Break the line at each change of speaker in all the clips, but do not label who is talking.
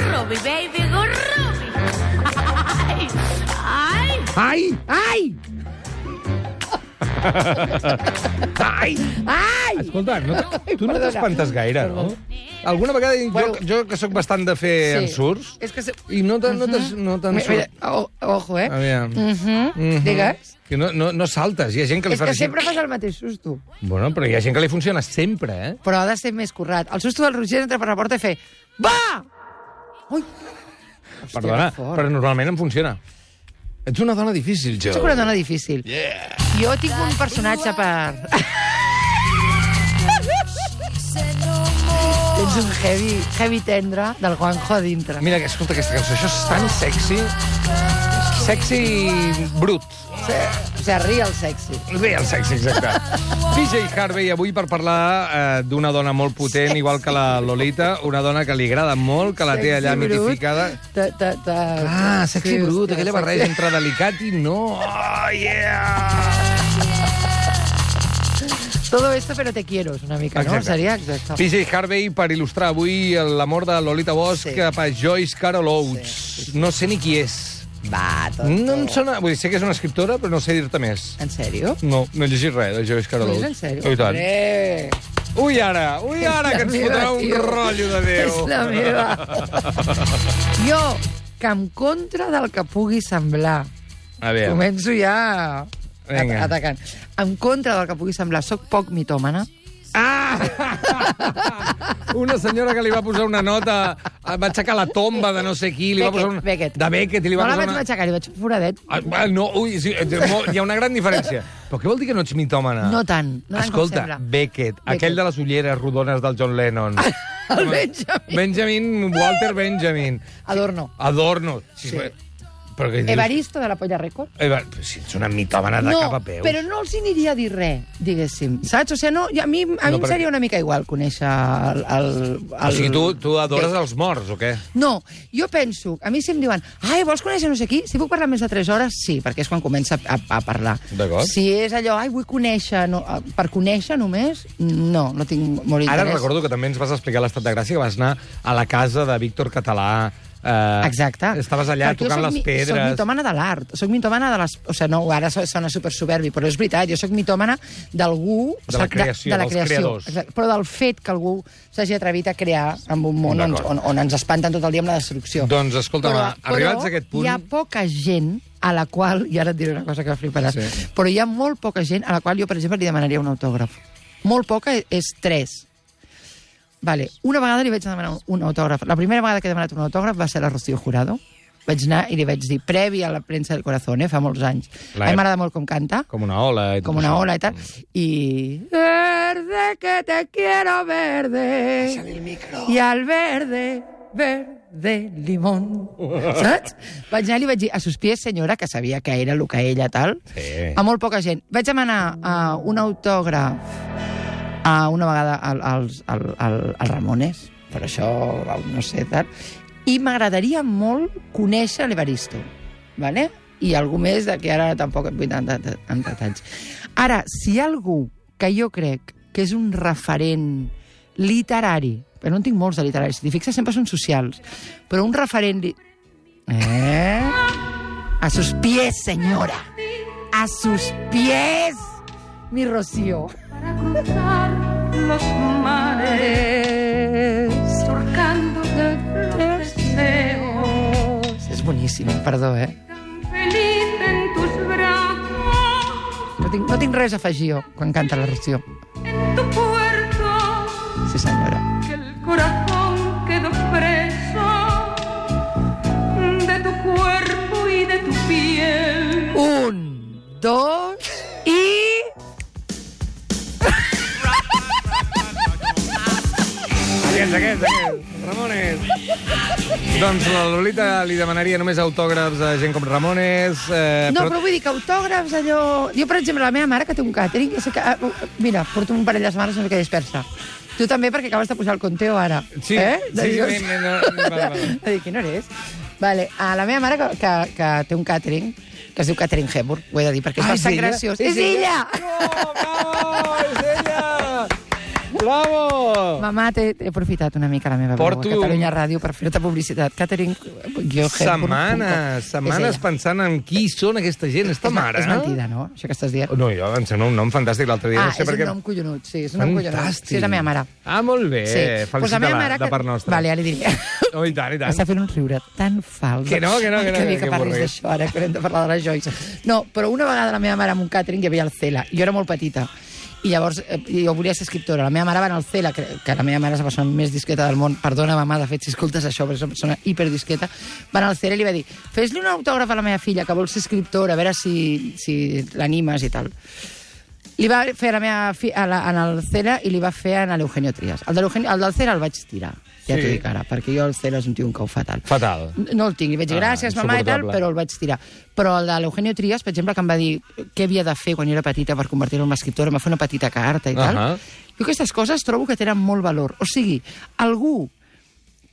Groovy, baby, groovy. Ay, ay.
¡Ay! ¡Ai! ¡Ai! ¡Ai!
Escolta, no, tu no t'espantes gaire, no? Alguna vegada jo,
Bueno.
jo que sóc bastant de fer
Sí.
ensurts,
És que... Se...
i no te'n no te'n- no te'n
Mira, mira,
surt.
o- ojo, eh?
Aviam.
Mhm. Digues.
Que no, no, no saltes, hi ha gent que li
És que
funciona...
sempre fas el mateix susto.
Bueno, però hi ha gent que li funciona sempre, eh?
Però ha de ser més currat. El susto del Roger entra per la porta i fer... Va! Ui! Hòstia,
Perdona,
que fort.
però normalment em funciona. Ets una dona difícil, jo.
Sóc una dona difícil. Yeah. Jo tinc un personatge per... Tens un heavy, heavy tendre del Juanjo a dintre.
Mira, que escolta aquesta cançó, això és tan sexy. Sexy i brut.
O sigui, ri el sexy.
Real sexy, exacte. PJ Harvey, avui per parlar eh, d'una dona molt potent, igual que la Lolita, una dona que li agrada molt, que la té allà
Sexy brut.
mitificada.
Ta, ta, ta.
Ah, sexy
Sí,
brut,
hòstia,
aquella
sexy.
barreja entre delicat i no. Oh, yeah!
Todo esto, pero te quiero, és una mica, no?
Exacte.
Seria exacte.
PJ Harvey per il·lustrar avui l'amor de Lolita Bosch
Sí.
sí. cap a Joyce Carol Oates. No sé ni qui és.
Va, tot.
No em sona... Vull dir, sé que és una escriptora, però no sé dir-te més.
En sèrio?
No, no he llegit res de Joyce Carol
Ho
Oates.
dius en sèrio?
Oh, I tant.
Hombre.
Ui, ara, ui, ara, que ens
És la
fotrà
meva,
un
tio.
rotllo de Déu.
És la meva. Jo, que en contra del que pugui semblar,
A veure,
començo ja
Vinga.
at- atacant. En contra del que pugui semblar, sóc poc mitòmana.
Ah! una senyora que li va posar una nota, eh, va aixecar la tomba de no sé qui, li va posar una...
Beckett.
De Beckett, i li va
no la
posar
vaig
una...
matxacar, li vaig fer un foradet.
Ah, ah, no, ui, sí, eh, molt- hi ha una gran diferència. Però què vol dir que no ets mitòmana?
No tant, no tant
Escolta,
com sembla.
Beckett,
Beckett.
aquell de les ulleres rodones del John Lennon.
El Benjamin.
Benjamin, Walter Benjamin.
Adorno.
Adorno. Sí.
Sí.
Però què dius?
Evaristo de la Polla Record.
Eva... Eh, Però Si ets una mitòmana de cap a peus.
però no els hi aniria a dir res, diguéssim. Saps? O sigui, no, i a mi,
No,
a mi em
perquè-
seria una mica igual conèixer el... el, el...
O sigui, tu, tu adores els morts, o què?
No, jo penso, a mi si em diuen ai, vols conèixer no sé qui? Si puc parlar més de 3 hores, sí, perquè és quan comença a, a parlar.
D'acord.
Si és allò, ai, vull conèixer, no, eh, per conèixer només, no, no tinc molt interès.
Ara recordo que també ens vas explicar a l'estat de Gràcia que vas anar a la casa de Víctor Català. Eh,
Exacte.
Estaves allà
Perquè jo
tocant
soc
les
mi- Soc
pedres.
mitomana de l'art, soc mitomana de les... O sigui, no, ara so- sona super superbi, però és veritat, jo soc mitomana d'algú... o
De la
sigui,
creació, dels creadors.
Exacte, però del fet que algú s'hagi atrevit a crear en un món on,
D'acord.
on, on ens espanten tot el dia amb la destrucció.
Doncs, escolta'm, arribats a aquest punt-
Hi ha poca gent a la qual, i ara et diré una cosa que fliparàs,
Sí.
sí. però hi ha molt poca gent a la qual jo, per exemple, li demanaria un autògraf. Molt poca és tres. Vale. Una vegada li vaig demanar un autògraf. La primera vegada que he demanat un autògraf va ser a la Rocío Jurado. Vaig anar i li vaig dir, previ a la premsa del corazón, eh, fa molts anys.
La E
A mi
ep-
m'agrada molt com canta,
Com una ola. eh, i tot
com una
això.
ola i tal. I... Verde que te quiero verde y al verde, verde limón. Saps? Vaig anar i li vaig dir, a sus pies, senyora, que sabia que era el que ella tal,
Sí.
a molt poca gent. Vaig demanar uh, un autògraf a Ah, una vegada al, al, al, al, al Ramones, per això no sé, tal. I m'agradaria molt conèixer l'Evaristo, vale? i algú més, de que ara tampoc em vull tant de- de- amb tants anys. Ara, si hi ha algú que jo crec que és un referent literari, però no en tinc molts de literaris, si t'hi fixes sempre són socials, però un referent... Li... Eh? A sus pies, senyora. A sus pies, mi Rocío. És boníssim, perdó, eh? No tinc, no tinc res a afegir jo quan canta la Rocío. Sí, senyora.
que el corazón quedó preso de tu cuerpo y de tu piel.
Un, dos i...
Aquests, aquests, aquests. Ramones. doncs la Lolita li demanaria només autògrafs a gent com Ramones. Eh,
No, però vull dir que autògrafs, allò... Jo, per exemple, la meva mare, que té un càtering, jo sé que... ah, Mira, porto un parell de setmanes una mica dispersa. Tu també, perquè acabes de posar el conteo ara.
Sí,
eh?
sí, sí, sí, no, no, no, val, val.
De dir, qui no eres? Vale, a la meva mare, que, que, que té un càtering, que es diu Catherine Hepburn, ho he de dir, perquè és
Ah, és
bastant
ella?
graciós.
És
És, ella!
No, bravo, és ella! Bravo!
Mamà, t'he he aprofitat una mica la meva
Porto-
veu a Catalunya Ràdio per fer-te publicitat. Catherine... Jo,
Setmanes, setmanes pensant en qui són aquesta gent, és ta mare.
És mentida, no? Això que estàs dient.
No, jo em sembla un nom fantàstic l'altre dia.
ah,
no sé
és
per què...
un nom collonut, sí, és un nom collonut.
Fantàstic.
Sí, és la meva mare.
Ah, molt bé.
sí. Pues
Felicita-la,
la meva mare
de part nostra.
Vale, ara li diré.
Oh, i tant, i tant.
Està fent un riure tan fals.
Que no, que no, que no,
Que, bé
que-
que,
que
parlis
avorrit.
d'això ara, que hem de parlar de la Joyce. No, però una vegada la meva mare amb un càtering hi havia el Cela. Jo era molt petita. I llavors eh, jo volia ser escriptora. La meva mare va anar al Cela, que, que la meva mare és la persona més discreta del món. Perdona, mamà, de fet, si escoltes això, però és una persona hiperdiscreta. Va anar al Cela i li va dir fes-li un autògraf a la meva filla, que vol ser escriptora, a veure si, si l'animes i tal. Li va fer a la meva fi, a la, en el Cera i li va fer en l'Eugenio Trias. El, de l'Eugenio- el del Cera el vaig tirar, ja
Sí.
t'ho dic ara, perquè jo el Cera és un tio un cau fatal.
Fatal.
No el tinc, li vaig dir
Ah,
gràcies, mamà, i tal,
insuportable.
però el vaig tirar. Però el de l'Eugenio Trias, per exemple, que em va dir què havia de fer quan jo era petita per convertir-me en una escriptora, em va fer una petita carta i tal.
Ahà.
Jo aquestes coses trobo que tenen molt valor. O sigui, algú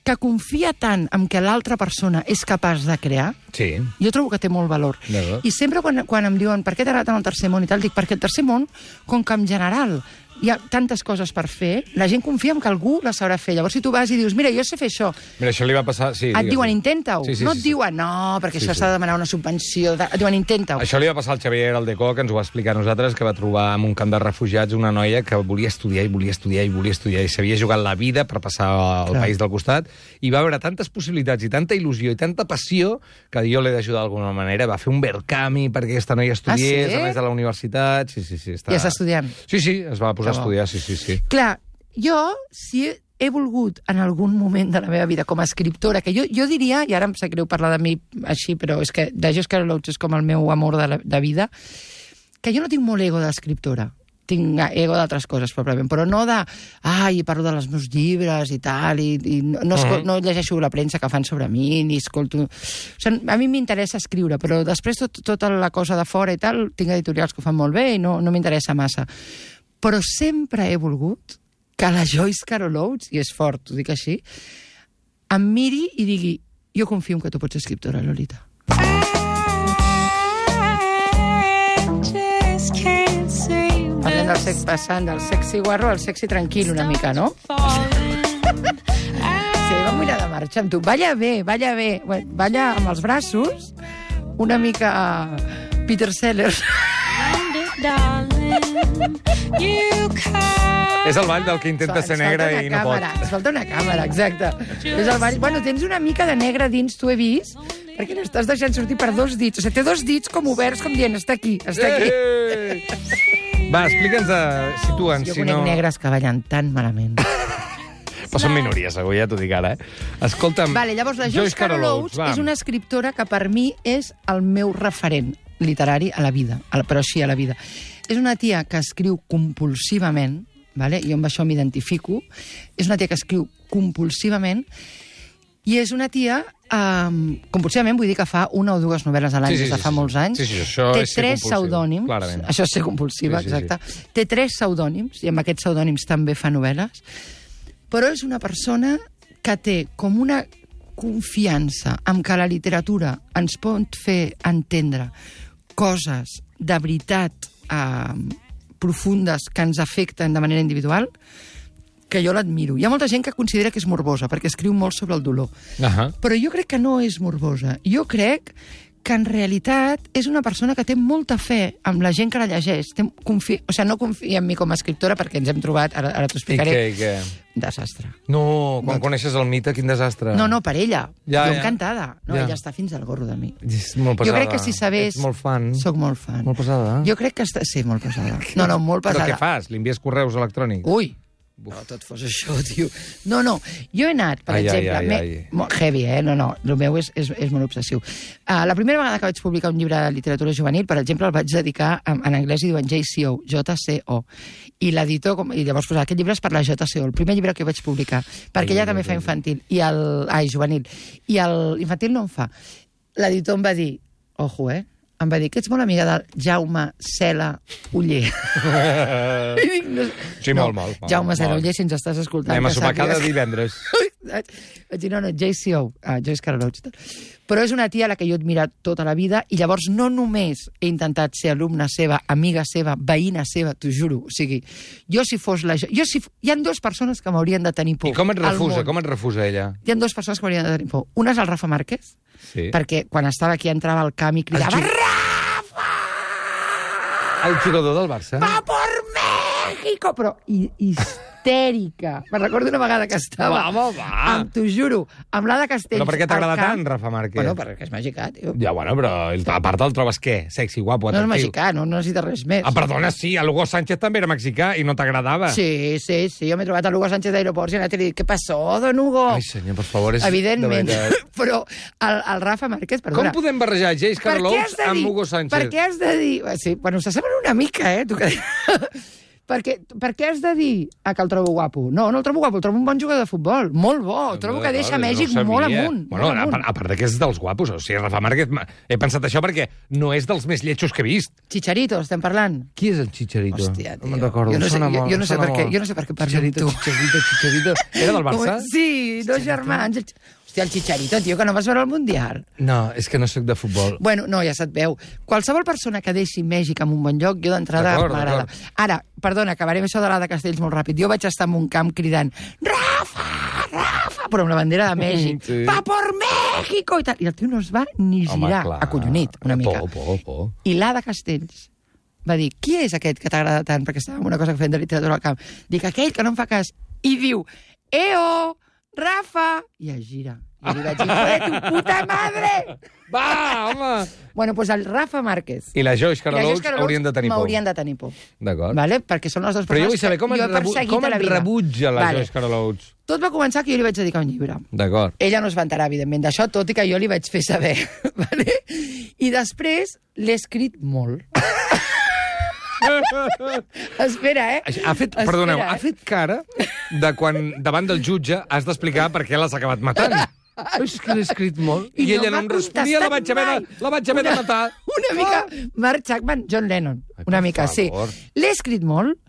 que confia tant en que l'altra persona és capaç de crear,
Sí.
jo trobo que té molt valor.
D'acord.
I sempre quan, quan em diuen per què t'agrada tant el tercer món i tal, dic perquè el tercer món, com que en general hi ha tantes coses per fer, la gent confia en que algú la sabrà fer. Llavors si tu vas i dius, mira, jo sé fer això,
Mira, això li va passar... Sí,
et
digues.
diuen intenta-ho.
Sí, sí,
no
sí,
et
sí.
diuen, no, perquè
Sí,
això
sí.
s'ha de demanar una subvenció. de-". Et diuen, intenta-ho.
Això li va passar al Xavier Aldecó, que ens ho va explicar a nosaltres, que va trobar en un camp de refugiats una noia que volia estudiar i volia estudiar i volia estudiar i s'havia jugat la vida per passar al
Clar.
país del costat i va veure tantes possibilitats i tanta il·lusió i tanta passió que jo l'he d'ajudar d'alguna manera. Va fer un verkami perquè aquesta noia estudiés,
Ah, sí?
a més de la universitat... Sí, sí, sí. Està...
I està estudiant.
Sí, sí, es va posar
Que
a
bo.
estudiar, sí, sí, sí.
Clar, jo, si he, he volgut en algun moment de la meva vida com a escriptora, que jo, jo diria, i ara em sap greu parlar de mi així, però és que de Josca Loach és com el meu amor de, la, de vida, que jo no tinc molt ego d'escriptora. Tinc ego d'altres coses, probablement, però no de... Ai, parlo dels meus llibres i tal, i, i no, no, escol, no llegeixo la premsa que fan sobre mi, ni escolto... O sigui, a mi m'interessa escriure, però després tot, tota la cosa de fora i tal, tinc editorials que ho fan molt bé i no, no m'interessa massa però sempre he volgut que la Joyce Carol Oates, i és fort, ho dic així, em miri i digui jo confio en que tu pots ser escriptora, Lolita. Parlem del sex passant, del sex ciguarro al sexy tranquil una mica, no? Sí, vam mirar de marxa amb tu. Balla bé, balla bé. Bé, Balla amb els braços, una mica eh, Peter Sellers.
És el ball del que intenta
Ens
ser
falta
negre
una
i no
càmera,
pot.
Ens falta una càmera, exacte. És el ball... Bueno, tens una mica de negre dins, t'ho he vist, perquè l'estàs deixant sortir per dos dits. O sigui, té dos dits com oberts, com dient, està aquí, està aquí.
Eh! Va, explica'ns, eh, situa'ns,
Jo
si
conec
no...
negres que ballen tan malament.
Però són minories, segur, ja t'ho dic ara, eh? Escolta'm...
Vale, llavors, la Joyce Carol Oates
va.
és una escriptora que per mi és el meu referent literari a la vida, a la- però sí a la vida. És una tia que escriu compulsivament, vale? jo amb això m'identifico, és una tia que escriu compulsivament i és una tia Um, compulsivament vull dir que fa una o dues novel·les a l'any
Sí, sí,
des de
sí,
fa
sí.
molts anys
Sí, sí, això
té
és ser
tres
compulsiva,
pseudònims
clarament.
això és ser compulsiva,
Sí, sí, sí.
exacte té tres pseudònims i amb aquests pseudònims també fa novel·les però és una persona que té com una confiança en que la literatura ens pot fer entendre coses de veritat eh, profundes que ens afecten de manera individual, que jo l'admiro. Hi ha molta gent que considera que és morbosa, perquè escriu molt sobre el dolor.
Ahà.
Però jo crec que no és morbosa. Jo crec que en realitat és una persona que té molta fe amb la gent que la llegeix. Té, confi... O sigui, no confia en mi com a escriptora perquè ens hem trobat, ara, ara t'ho
I
explicaré,
què, i què?
desastre.
No, quan coneixes el mite, quin desastre.
No, no, per ella.
Ah. Ja,
Ja, jo
ja.
encantada. No,
Ja.
ja. Ella està fins al gorro de mi.
És molt pesada.
Jo crec que si sabés...
Ets molt fan.
Soc molt fan.
Molt pesada, eh?
Jo crec que està... Sí, molt pesada. No, no, molt pesada. Uh,
Però què fas? Li envies correus electrònics?
Ui! No, tot fos això, tio. No, no, jo he anat, per
Ai, ai,
exemple...
ai,
m'he-
ai.
Molt heavy, eh? No, no, el meu és, és, és molt obsessiu. Uh, la primera vegada que vaig publicar un llibre de literatura juvenil, per exemple, el vaig dedicar en, en anglès i diuen JCO, JCO. I l'editor, com- i llavors posava, aquest llibre és per la JCO, el primer llibre que vaig publicar, perquè ella també fa infantil, i el, ai, juvenil, i el infantil no en fa. L'editor em va dir, ojo, eh? Em va dir que ets molt amiga del Jaume Cela Uller. I dic, no,
Sí, molt, molt, molt,
Jaume
molt.
Saraller, si ens estàs escoltant...
Anem a
que
sopar cada
sàpigues-
divendres.
Vaig dir, no, no, Jaycee O, uh, Joyce Carol Oates. i tal. Però és una tia a la que jo he admirat tota la vida i llavors no només he intentat ser alumna seva, amiga seva, veïna seva, t'ho juro. O sigui, jo si fos la... Jo si... f- Hi han dues persones que m'haurien de tenir por.
I com et
al
refusa?
món.
Com et refusa ella?
Hi ha dues persones que m'haurien de tenir por. Una és el Rafa Márquez,
Sí.
perquè quan estava aquí entrava al camp i cridava...
ju- El jugador del Barça?
¡Va por México! Però hi- histèrica. Me'n recordo una vegada que estava...
Va, va, va.
Amb, t'ho juro, amb l'Ada Castells...
Però per què t'agrada
al camp.
tant, Rafa Márquez?
Bueno, perquè és màgica, tio.
Ja, bueno, però el- a part el trobes què? Sexy, guapo,
No és
atractiu.
mexicà, no, no necessita res més.
Ah, perdona, sí, el Hugo Sánchez també era mexicà i no t'agradava.
Sí, sí, sí. Jo m'he trobat a l'Hugo Sánchez d'aeroports i he anat i li he dit, què passó, don Hugo?
Ai, senyor, per favor, és...
Evidentment.
de veritat.
Però el, el Rafa Márquez,
Com
perdona...
podem barrejar Jace
Per què
Carlos
has de dir-
amb Hugo Sánchez?
Per què has de dir... Bé, Sí, bueno, s'assemblen una mica, eh? Tu que... per, què, per què has de dir ah, que el trobo guapo? No, no el trobo guapo, el trobo un bon jugador de futbol. Molt bo. Trobo que deixa Mèxic
no ho
molt
sabia.
amunt.
Bueno,
molt
a,
amunt.
part- a part de que és dels guapos, o sigui, Rafa Márquez... ma- He pensat això perquè no és dels més lletjos que he vist.
Chicharito, estem parlant.
Qui és el Chicharito?
Hòstia, tio.
No me'n recordo.
Jo no sé-
sona
jo-
molt,
jo no sé
sona
per què-
molt.
jo no sé per què parlo amb
Chicharito,
tu.
Chicharito, Chicharito. Era del Barça?
Com- Sí, dos germans. El- Hòstia, el Chicharito, tio, que no vas veure el Mundial.
No, és que no sóc de futbol.
Bueno, no, ja se't veu. Qualsevol persona que deixi Mèxic en un bon lloc, jo d'entrada
D'acord,
m'agrada.
d'acord.
Ara, perdona, acabarem això de la de Castells molt ràpid. Jo vaig estar en un camp cridant Rafa, Rafa, però amb la bandera de Mèxic.
Sí.
Sí. Va por México! I, tal. I el tio no es va ni girar,
clar.
acollonit, una mica.
Por, por, por.
I l'Ada Castells va dir, qui és aquest que t'agrada tant? Perquè estava en una cosa que fem de literatura al camp. Dic, aquell que no em fa cas. I diu, Eo, Rafa! I es gira. I li vaig dir, "Hijo de tu puta madre!
Va, home!
Bueno, doncs el Rafa Márquez.
I la Joyce
I la
Carol
Joyce Carol
haurien de tenir por.
M'haurien de tenir por.
D'acord.
Vale? Perquè són les dues
Però jo
persones
vull saber com
que
et,
jo he
rebu
perseguit
com
a la
et
vida.
rebutja la
vale.
Joyce Carol Oates.
Tot va començar que jo li vaig dedicar un llibre.
D'acord.
Ella no es vantarà, evidentment, d'això, tot i que jo li vaig fer saber. Vale? I després l'he escrit molt. Espera, eh?
Ha fet,
Espera,
perdoneu,
eh?
ha fet cara de quan davant del jutge has d'explicar per què l'has acabat matant. És que l'he escrit molt. I,
I no
ella no
m'ha
em responia, la vaig haver de,
contestat mai.
la vaig haver de matar.
Una mica Mark Chapman, John Lennon.
Ai, per
Una mica,
favor.
sí. L'he escrit molt,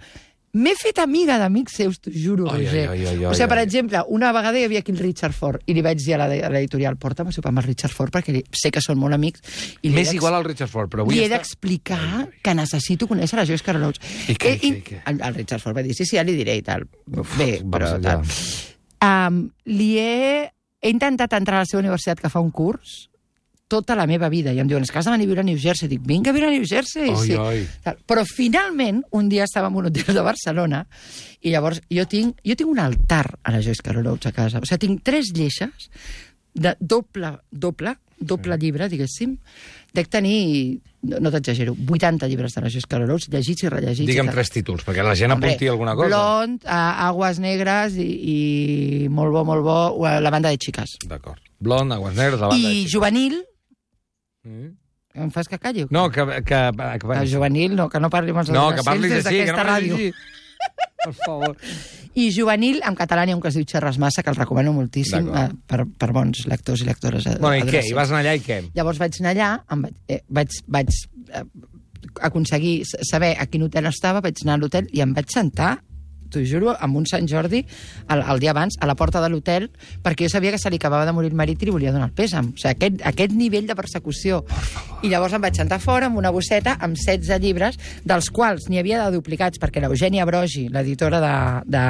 M'he fet amiga d'amics seus, t'ho juro,
Ai, ai,
Roger.
ai, ai,
o
ai,
sigui, per
ai.
exemple, una vegada hi havia aquí el Richard Ford i li vaig dir a la- a l'editorial, porta'm a sopar amb el Richard Ford perquè li- sé que són molt amics. I li
M'és
vaig-
igual al Richard Ford, però avui
Li he
està...
d'explicar que necessito conèixer la Joyce Carol Oates.
I què,
Eh,
i què, i què?
El, el Richard Ford va dir, sí, sí, ja li diré i tal. Bé,
va,
però
ja.
tal. Um, li he... he intentat entrar a la seva universitat que fa un curs tota la meva vida. I em diuen, és que has de venir a viure a New Jersey. Dic, vinga a viure a New Jersey.
Ai,
sí.
ai.
Tal. Però finalment, un dia estava en un hotel de Barcelona i llavors jo tinc, jo tinc un altar a la Joyce Carol Oates a casa. O sigui, tinc tres lleixes de doble, doble, doble sí. llibre, diguéssim. Dec tenir, no, no t'exagero, 80 llibres de la Joyce Carol Oates, llegits i rellegits. i
Digue'm
tal.
tres títols, perquè la gent
Hombre,
apunti alguna cosa.
Blond, a, Aguas Negres i, i molt bo, molt bo, eh, la banda de xiques.
D'acord. Blond, aguas negres, la banda...
I
de-
juvenil,
Mm.
em fas que calli?
No, que... que, que
Que juvenil, no, que no parli amb els
no, que
adolescents
parlis
des
així, que no
d'aquesta
parlis
ràdio.
així. Per favor.
I juvenil, en català n'hi ha un que es diu Xerres Massa, que el recomano moltíssim eh,
D'acord.
per, per bons lectors i lectores. eh,
Bueno, i què?
adolescents.
I vas anar allà i què?
Llavors vaig anar allà, em vaig, eh, vaig, vaig eh, aconseguir s- saber a quin hotel estava, vaig anar a l'hotel i em vaig sentar t'ho juro, amb un Sant Jordi el, el dia abans, a la porta de l'hotel perquè jo sabia que se li acabava de morir el marit i li volia donar el pèsam, o sigui, aquest, aquest nivell de persecució i llavors em vaig sentar fora amb una bosseta amb 16 llibres dels quals n'hi havia de duplicats perquè l'Eugènia Brogi, l'editora de, de,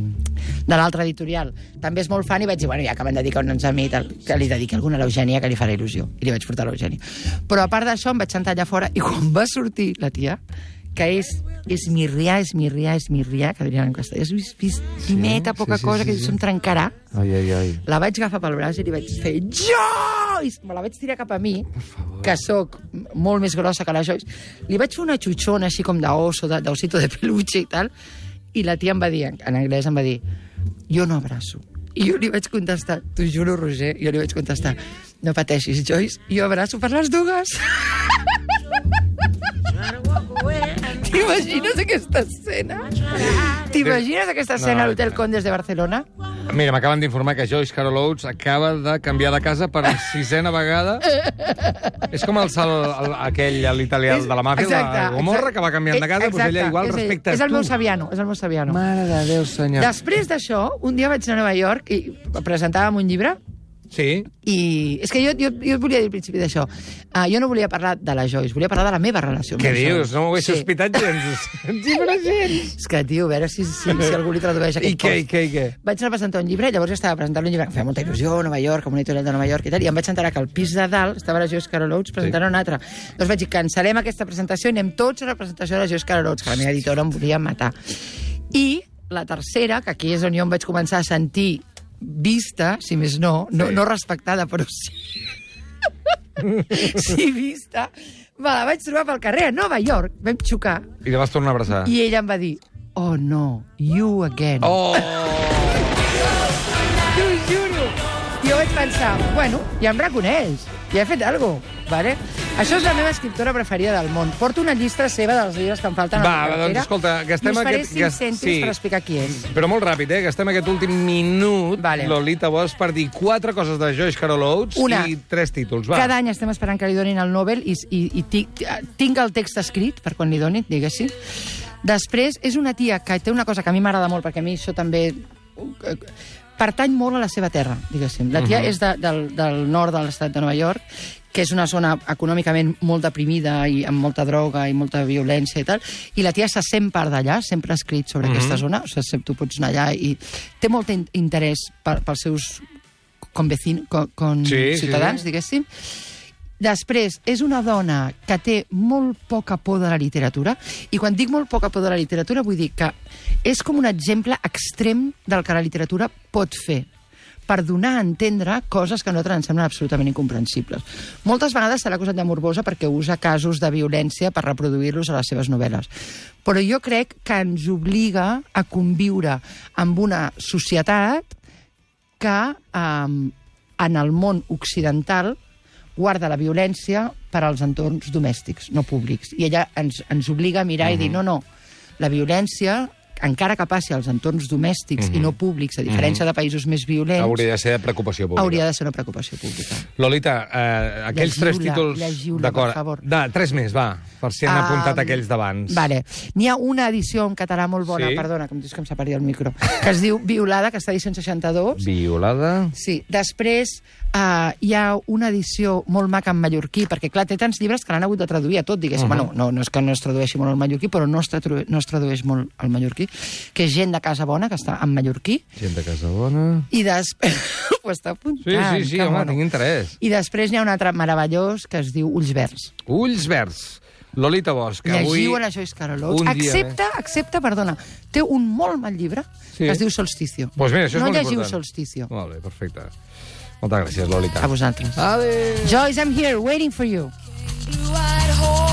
de l'altra editorial també és molt fan i vaig dir, bueno, ja que m'han dedicat un a mi, tal, que li dediqui alguna a l'Eugènia que li farà il·lusió, i li vaig portar l'Eugènia però a part d'això em vaig sentar allà fora i quan va sortir la tia que és esmirriar, esmirriar, esmirriar, que dirien en castellà, és vis- vistimeta, poca
sí,
cosa,
sí,
que
sí.
se'm trencarà.
Ai, ai, ai.
La vaig agafar pel braç i li vaig fer Joyce! Me la vaig tirar cap a mi, que sóc molt més grossa que la Joyce. Li vaig fer una xutxona així com d'oso, de- d'osito de peluche i tal, i la tia em va dir, en en anglès em va dir, jo no abraço. I jo li vaig contestar, t'ho juro, Roger, jo li vaig contestar, no pateixis, Joyce, jo abraço per les dues. T'imagines aquesta escena? T'imagines aquesta escena
No,
a l'Hotel
no.
Condes de Barcelona?
Mira, m'acaben d'informar que Joyce Carol Oates acaba de canviar de casa per sisena vegada. És com el, sal, el aquell, l'italià de la màfia,
Exacte,
la Gomorra,
exacte.
que va canviant de casa,
Eh,
doncs ella
exacte,
igual
és ell.
respecte
És
a
el
tu.
meu Saviano, és el meu Saviano.
Mare de Déu, senyor.
Després d'això, un dia vaig anar a Nova York i presentàvem un llibre
Sí?
i és que jo, jo, jo et volia dir al principi d'això. Uh, jo no volia parlar de la Joyce, volia parlar de la meva relació amb
Què
la Joyce.
dius? No m'ho he
Sí.
sospitat gens.
És que, tio, a veure si, si, si algú li tradueix
I
aquest
què, i
post.
què, i què?
Vaig anar a presentar un llibre, llavors estava presentant un llibre que em feia molta il·lusió, a Nova York, amb un editorial de Nova York i tal, i em vaig enterar que al pis de dalt estava la Joyce Carol Oates presentant sí. un altre. Llavors vaig dir, cancel·lem aquesta presentació i anem tots a la presentació de la Joyce Carol Oates, que la meva editora em volia matar. I la tercera, que aquí és on jo em vaig començar a sentir vista, si més no, no,
Sí.
no respectada, però sí sí vista, me la vaig trobar pel carrer a Nova York. Vam xocar
I la vas tornar a abraçar.
i ella em va dir, oh no, you again.
Ah. Oh!
T'ho juro. I jo vaig pensar, bueno, ja em reconeix, ja he fet alguna cosa. Vale? Això és la meva escriptora preferida del món. Porto una llista seva dels llibres que em
Va,
falten a la
va,
cartera.
doncs escolta, gastem
I us faré
aquest-
5
gas-
cèntims
sí.
per explicar qui és.
Però molt ràpid, eh? Gastem aquest últim minut,
Vale.
Lolita Bosch, per dir quatre coses de Joyce Carol Oates
Una.
i tres títols. Doncs Va.
Cada any estem esperant que li donin el Nobel i, i, i ti- ti- tinc el text escrit per quan li donin, diguéssim. Després, és una tia que té una cosa que a mi m'agrada molt, perquè a mi això també eh, pertany molt a la seva terra, diguéssim. La
Mhm.
tia és de, del, del nord de l'estat de Nova York, que és una zona econòmicament molt deprimida i amb molta droga i molta violència i tal, i la tia se sent part d'allà, sempre ha escrit
Mhm.
sobre aquesta zona, o sigui, sempre tu pots anar allà i té molt in- interès per, pels seus convecin, con, con
Sí, sí,
ciutadans,
sí.
diguéssim. Després, és una dona que té molt poca por de la literatura, i quan dic molt poca por de la literatura vull dir que és com un exemple extrem del que la literatura pot fer per donar a entendre coses que a nosaltres ens semblen absolutament incomprensibles. Moltes vegades se l'ha acusat de morbosa perquè usa casos de violència per reproduir-los a les seves novel·les. Però jo crec que ens obliga a conviure amb una societat que eh, en el món occidental guarda la violència per als entorns domèstics, no públics. I ella ens, ens obliga a mirar mm -hmm. i dir, no, no, la violència, encara que passi als entorns domèstics mm -hmm. i no públics, a diferència mm -hmm. de països més violents,
Hauria de ser de preocupació pública.
hauria de ser una preocupació pública.
Lolita, eh, aquells tres
Llegiu-la,
títols...
llegiu-la,
D'acord.
per favor.
Da, tres més, va, per si han
Ah,
apuntat aquells d'abans.
Vale. N'hi ha una edició en català molt bona,
Sí?
sí? perdona, com dius que em separi el micro, que es diu Violada, que està a edició 62,
Violada...
Sí, després uh, hi ha una edició molt maca en mallorquí, perquè clar, té tants llibres que l'han hagut de traduir a tot, diguéssim.
Mhm.
Uh -huh. bueno, no, no és que no es tradueixi molt al mallorquí, però no es, tradu no es tradueix molt al mallorquí, que és gent de casa bona, que està en mallorquí,
Gent de Casabona...
i després... Ho
Sí,
està apuntant.
sí, sí,
que
home,
mono.
tinc interès.
I després n'hi ha un altre meravellós que es diu Ulls Verds.
Ulls verds. Lolita Bosch,
Que
avui...
Llegiu a la Joyce Carol Oates.
un dia eh.
Excepte, excepte, perdona, té un molt mal llibre
Sí.
que es diu Solsticio.
Doncs mira, això és
no
molt
llegiu
important.
Solsticio.
Molt bé, perfecte. Moltes gràcies, Lolita.
A vosaltres.
Adéu.
Joyce, I'm here waiting for you.
You at home.